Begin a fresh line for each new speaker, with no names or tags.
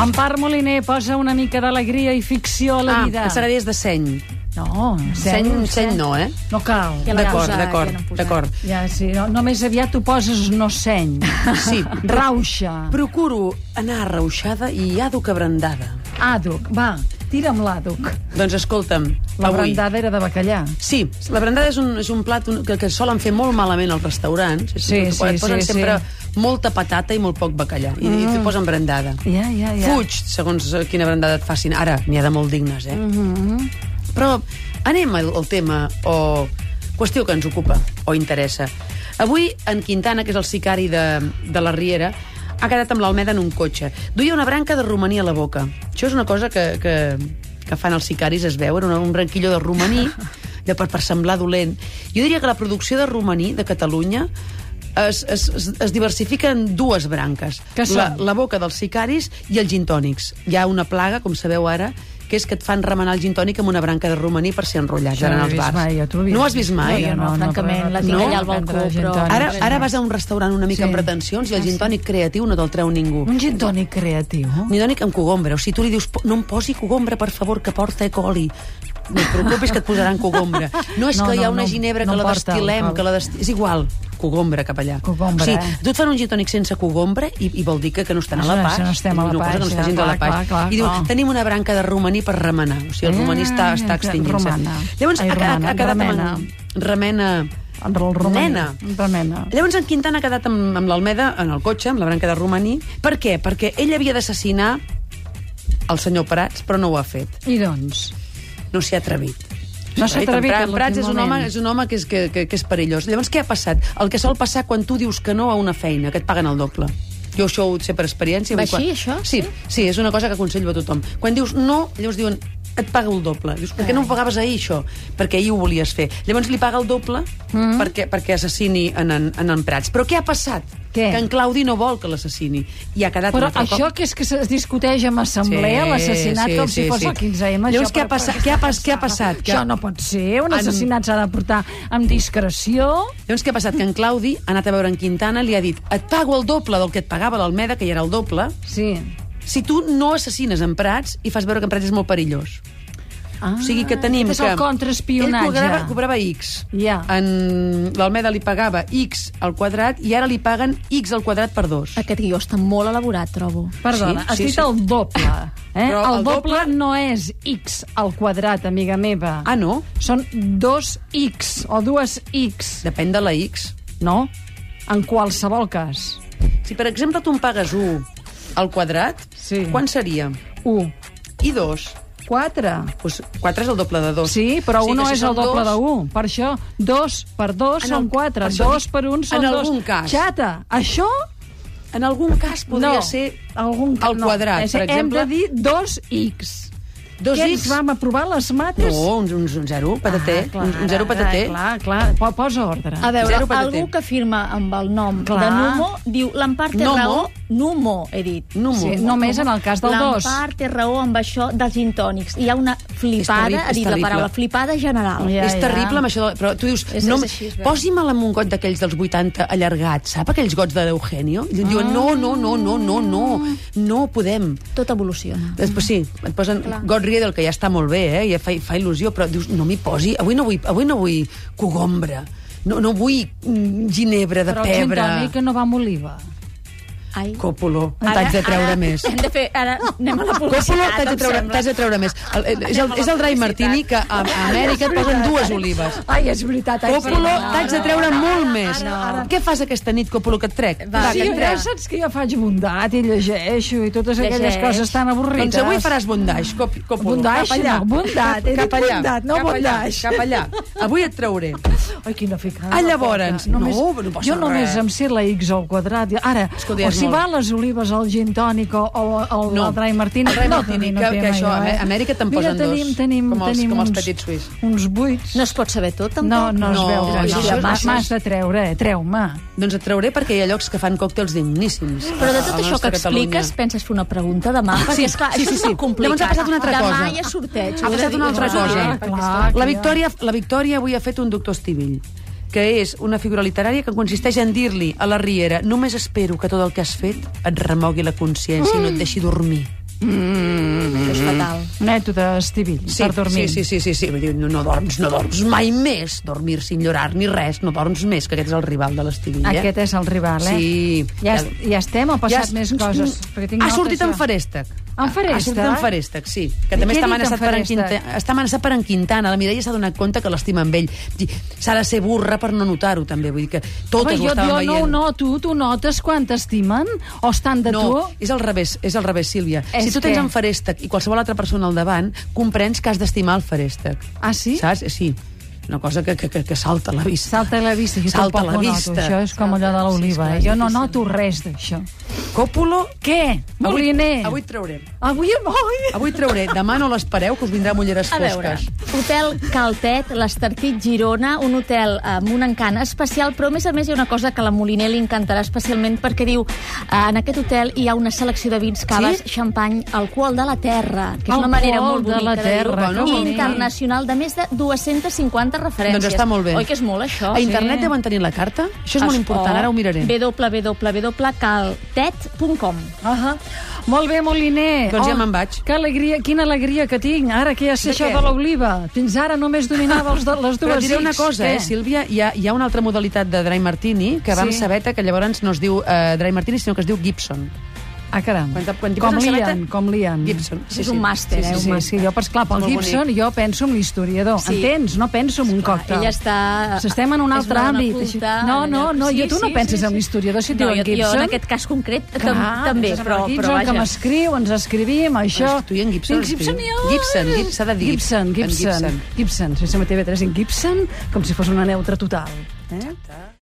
Empar Moliner posa una mica d'alegria i ficció a la
Ah,
vida.
pensarà que és de seny.
No,
Seny,
zero,
seny no, eh?
No cal.
Ja l'han
D'acord,
posat,
d'acord,
ja l'han posat.
d'acord.
Ja, sí, no, només aviat ho poses no seny.
Sí.
Rauxa.
Procuro anar arrauxada i àduc abrandada.
Àduc, va, tira'm l'àduc.
Doncs escolta'm,
La
avui...
brandada era de bacallà.
Sí, la brandada és un, és un plat un, que, que solen fer molt malament als restaurants.
Sí,
Et
sí,
posen
sí,
sempre molta patata i molt poc bacallà. I, i t'hi posen brandada.
Ja, ja, ja.
Fuig, segons eh, quina brandada et facin. Ara, n'hi ha de molt dignes, eh?
Mm-hmm.
Però anem al, al tema o qüestió que ens ocupa o interessa. Avui, en Quintana, que és el sicari de, de la Riera, ha quedat amb l'Almeda en un cotxe. Duia una branca de romaní a la boca. Això és una cosa que, que, que fan els sicaris, es veu, era una, un branquillo de romaní, allò per, per semblar dolent. Jo diria que la producció de romaní de Catalunya es, es, es, es diversifica en dues branques.
Que són?
La, la boca dels sicaris i els gintònics. Hi ha una plaga, com sabeu ara, que és que et fan remenar el gintònic amb una branca de romaní per ser enrotllat
Això no
en
ho he
els
vist
bars.
mai, jo t'ho he vist.
no ho has vist mai?
No, jo no, francament, la tinc
no?
allà al balcó,
Prendre gin
però-
tònic.
Ara, ara vas a un restaurant una
Sí.
mica sí. amb pretensions i el gintònic creatiu no te'l treu ningú.
Un gin tònic creatiu.
Gintònic amb cogombre. O sigui, tu li dius, "Po- no em posi cogombre, per favor, que porta E. coli. No et preocupis que et posaran cogombre. No és
No,
no, que
no,
hi ha una
no,
ginebra
no
que la
porta
destilem,
alcohol.
que la dest... És igual, cogombre cap allà.
Cogombre,
o sigui,
eh?
tu et fan un gintònic sense cogombre i, i vol dir que, que no estan a la
Això-
paz.
això no estem a la
Una cosa
paz,
que no
sí,
està gens a la
clar,
paz.
clar, clar,
I diu,
clar.
tenim una branca de romaní per remenar. O sigui, el romaní està,
Ah,
està extingint-se.
romana.
Llavors,
Ai,
ha, ha,
romana,
ha quedat
remena.
amb... en- Remena
El romaní.
Nena.
Remena.
Llavors en Quintana ha quedat amb, amb l'Almeda en el cotxe, amb la branca de romaní. Per què? Perquè ell havia d'assassinar el senyor Prats, però no ho ha fet.
I doncs?
No s'hi ha atrevit.
No s'ha atrevit
En
en
Pra- Prats és un home,
l'últim
és un home que, és, que, que, que és perillós. Llavors, què ha passat? El que sol passar quan tu dius que no a una feina, que et paguen el doble. Jo això ho sé per experiència.
Va
Vull quan...
així, això?
Sí, sí, és una cosa que aconsello a tothom. Quan dius no, llavors diuen et pago el doble. Dius, per què
Eh.
no ho pagaves ahir, això? Perquè ahir ho volies fer. Llavors li paga el doble
Mm-hmm.
perquè, perquè assassini en, en, en, en Prats. Però què ha passat?
Què?
Que en Claudi no vol que l'assassini. I ha quedat un
Però
altre cop
això que és que es discuteix amb assemblea,
Sí,
l'assassinat,
sí,
com si
sí,
fos
sí.
el 15M.
Llavors,
això
què ha
per-
passa- què ha pas- què ha passat? Que-
Això no pot ser, un
En-
assassinat s'ha de portar amb discreció.
Llavors, què ha passat? Que en Claudi ha anat a veure en Quintana, li ha dit et pago el doble del que et pagava l'Almeda, que ja era el doble,
Sí.
si tu no assassines en Prats i fas veure que en Prats és molt perillós.
Ah,
o sigui que tenim
aquest és
que...
el contraespionatge. Ah.
Ell cobrava, Ah, cobrava X.
Ja.
En L'Almeda li pagava X al quadrat i ara li paguen X al quadrat per dos.
Ah.
Aquest guió està molt elaborat, trobo.
Perdona,
Sí,
has
sí,
dit
sí.
el doble. Eh?
Però
El
el
doble
doble-
no és x al quadrat, amiga meva.
Ah, no?
Són dos x o dues x,
Depèn de la X.
no? En qualsevol cas.
Si, per exemple, tu em pagues 1 al quadrat,
Sí.
quant seria?
1,
I 2?
4.
Pues 4 és el doble de 2.
Sí, però un no és el doble
de
de 1. Per això, 2 per 2
En
són
el-
4,
per això
2
dic-
per 1 són
Ah, en
2.
algun cas.
Xata, això
En algun cas podria
no.
ser
algun ca-
al quadrat,
no. És a
per
dir,
exemple.
Hem de dir 2x.
Dos
Què ens
X?
vam aprovar les mates?
No, Oh, un, un, un zero patater.
clar,
un, un zero patater.
Clar, clar, Po- posa ordre.
A veure,
Zero per
algú
detent.
que firma amb el nom
Clar.
de Numo diu l'Empar té
Nomo?
raó... Numo, he dit.
Numo.
Sí, només en el cas del dos.
L'Empar té raó amb això dels gintònics. Hi ha una flipada,
terrible,
ha dit
és
la
terrible.
paraula, flipada general.
Ja,
Ah, és
ja.
terrible amb això, de, però tu dius,
És-
no,
és així, és veritat.
posi'm a un got d'aquells dels 80 allargats, sap aquells gots de l'Eugenio? I et diuen, no, no, no, no, no, no, no podem.
Tot evoluciona.
Després sí, et posen got Riedel, que ja està molt bé, eh, ja fa, fa il·lusió, però dius, no m'hi posi, avui no vull, avui no vull cogombre, no, no vull mm, ginebra de
Però el
pebre,
gintònic no va amb oliva.
Ai.
còpolo, t'haig de treure
ara,
més.
Hem de fer, ara anem a la
Còpolo,
publicitat,
t'haig de,
em
treure,
sembla.
t'haig de treure més. El, eh, és el, és el dry martini que a, a Amèrica et posen dues olives.
Ai, és veritat. Ai,
Còpolo, t'haig de treure molt
Ah,
més.
ara,
Què fas aquesta nit, Còpolo, que et trec?
Va,
Va,
Sí,
que et
ja
trec.
saps que jo faig bondat i llegeixo i totes aquelles
Llegeix.
coses tan avorrides.
Doncs avui faràs bondage, cop, Còpolo.
Bondage,
cap allà.
no, bondat, he dit
Cap allà,
bondat, no
cap allà,
bondage.
Cap allà. Avui et trauré.
Ai, quina ficada.
Ah, llavors.
Porca.
No, però no passa
jo només
res.
em sé la X al quadrat. I Ara,
Escolta,
o
és
si
molt.
va a les olives al gin tònic o, o, o no. al Dry Martini,
El Dry
no,
Martini,
no
que-
té
que això,
maior, eh?
a Amèrica te'n
Mira,
posen dos,
tenim, tenim,
com els-
tenim
com els
uns-
petits suís.
Uns buits.
No es pot saber tot, tampoc?
No, no, es
No,
veu.
això
No,
és-
no,
això
M'has
és-
de treure, eh? treu-me.
Doncs et trauré perquè hi ha llocs que fan còctels digníssims.
Però de
a- a
tot
la
això que
nostra Catalunya.
expliques, penses fer una pregunta demà? Sí, perquè, esclar,
sí,
això
sí,
és molt
sí.
complicat.
Llavors ha passat una altra cosa.
Demà hi ha sorteig.
Ha passat una altra cosa.
clar, clar,
La
que ja.
Victòria, la Victòria avui ha fet un doctor Estivill que és una figura literària que consisteix en dir-li a la Riera només espero que tot el que has fet et remogui la consciència mm. i no et deixi dormir. Mm-hmm.
Mm. És fatal.
Mètode estivill,
Sí,
per dormir.
sí, sí, sí, sí, sí. Diu, no, no dorms, no dorms mai més. Dormir sin llorar ni res, no dorms més, que aquest és el rival de l'estivilla.
Aquest és el rival, eh?
Sí.
Ja, es- ja estem o ha passat
es-
més coses? Perquè tinc
ha
notes,
sortit en
jo.
Farèstec.
En Farèstec? eh?
Ha sortit en Farèstec, sí. Que
I
també
què ha dit en
està amenaçat, per en
Farèstec?
Quintana, està amenaçat per en Quintana. La Mireia s'ha donat compte que l'estima amb ell. Di- S'ha de ser burra per no notar-ho, també. Vull dir que totes
Home,
ho
jo,
estàvem
jo no ho
veient.
noto, tu notes quan t'estimen? O estan de
no,
tu?
és al revés, és al revés, Sílvia.
És
si tu tens
que-
en Farèstec i qualsevol altra persona al davant, comprens que has d'estimar el Farèstec.
Ah, sí?
Saps? Eh, Sí. Una cosa que, que, que, que salta a la vista.
Salta a la vista. Jo
Salta a
tampoc
la
ho
vista.
Noto. Això és com allò de l'oliva.
Sí,
Eh?
és clar,
Jo no
difícil.
noto res d'això.
Còpulo...
Què?
Avui,
Moliner?
avui et traurem.
Avui, avui.
Avui trauré, demà no l'espereu, que us vindrà mulleres
A veure,
fosques.
Hotel Caltet, l'Estartit Girona, un hotel amb un encant especial, però a més a més hi ha una cosa que a la Moliner li encantarà especialment perquè diu eh, en aquest hotel hi ha una selecció de vins, caves,
Sí?
xampany, alcohol de la terra, que és
Alcohol
una manera molt
de
bonica
la terra,
que
de dir-ho,
bonic.
i internacional, de més de 250 referències.
Doncs està molt bé.
Oi que és molt, això?
A internet deuen tenir la carta? Això és molt important, ara ho miraré.
www.caltet.com
Uh -huh. Molt bé, Moliner. Oh,
Doncs ja me'n vaig.
Que alegria, quina alegria que tinc, ara que ja sé
De
això
què?
de l'oliva. Fins ara només dominava els, de- les dues
Però et diré una
X.
cosa, eh,
Què?
Sílvia, hi ha, hi ha una altra modalitat de dry martini que vam
Sí.
sabeta que llavors no es diu eh, dry martini, sinó que es diu Gibson.
Ah, caram.
Quan te- quan t'hi
com
poses en
l'Ian,
sabata-
com l'Ian.
Gibson.
És un màster,
Sí,
eh,
sí, sí. sí, jo, però, esclar, pel
Molt
Gibson
bonic.
jo penso en l'historiador.
Sí.
Entens? No penso en un còctel.
ella està-
Estem en un
és
altre
una dona
àmbit.
culta,
no, no, no,
sí,
jo, tu no
sí,
penses
sí,
en
sí.
l'historiador si et
No,
diuen
jo- jo en
Gibson.
aquest cas concret, tam- també,
penses en
però-
el
però
Gibson,
vaja.
que m'escriu, ens escrivim, això...
Ostres, tu i en Gibson,
En Gibson,
escriu.
jo...
Gibson, Gib- s'ha de dir
Gibson,
en
Gibson.
Gibson.
Gibson, si se m'até bé tres en Gibson, com si fos una neutra total. Eh?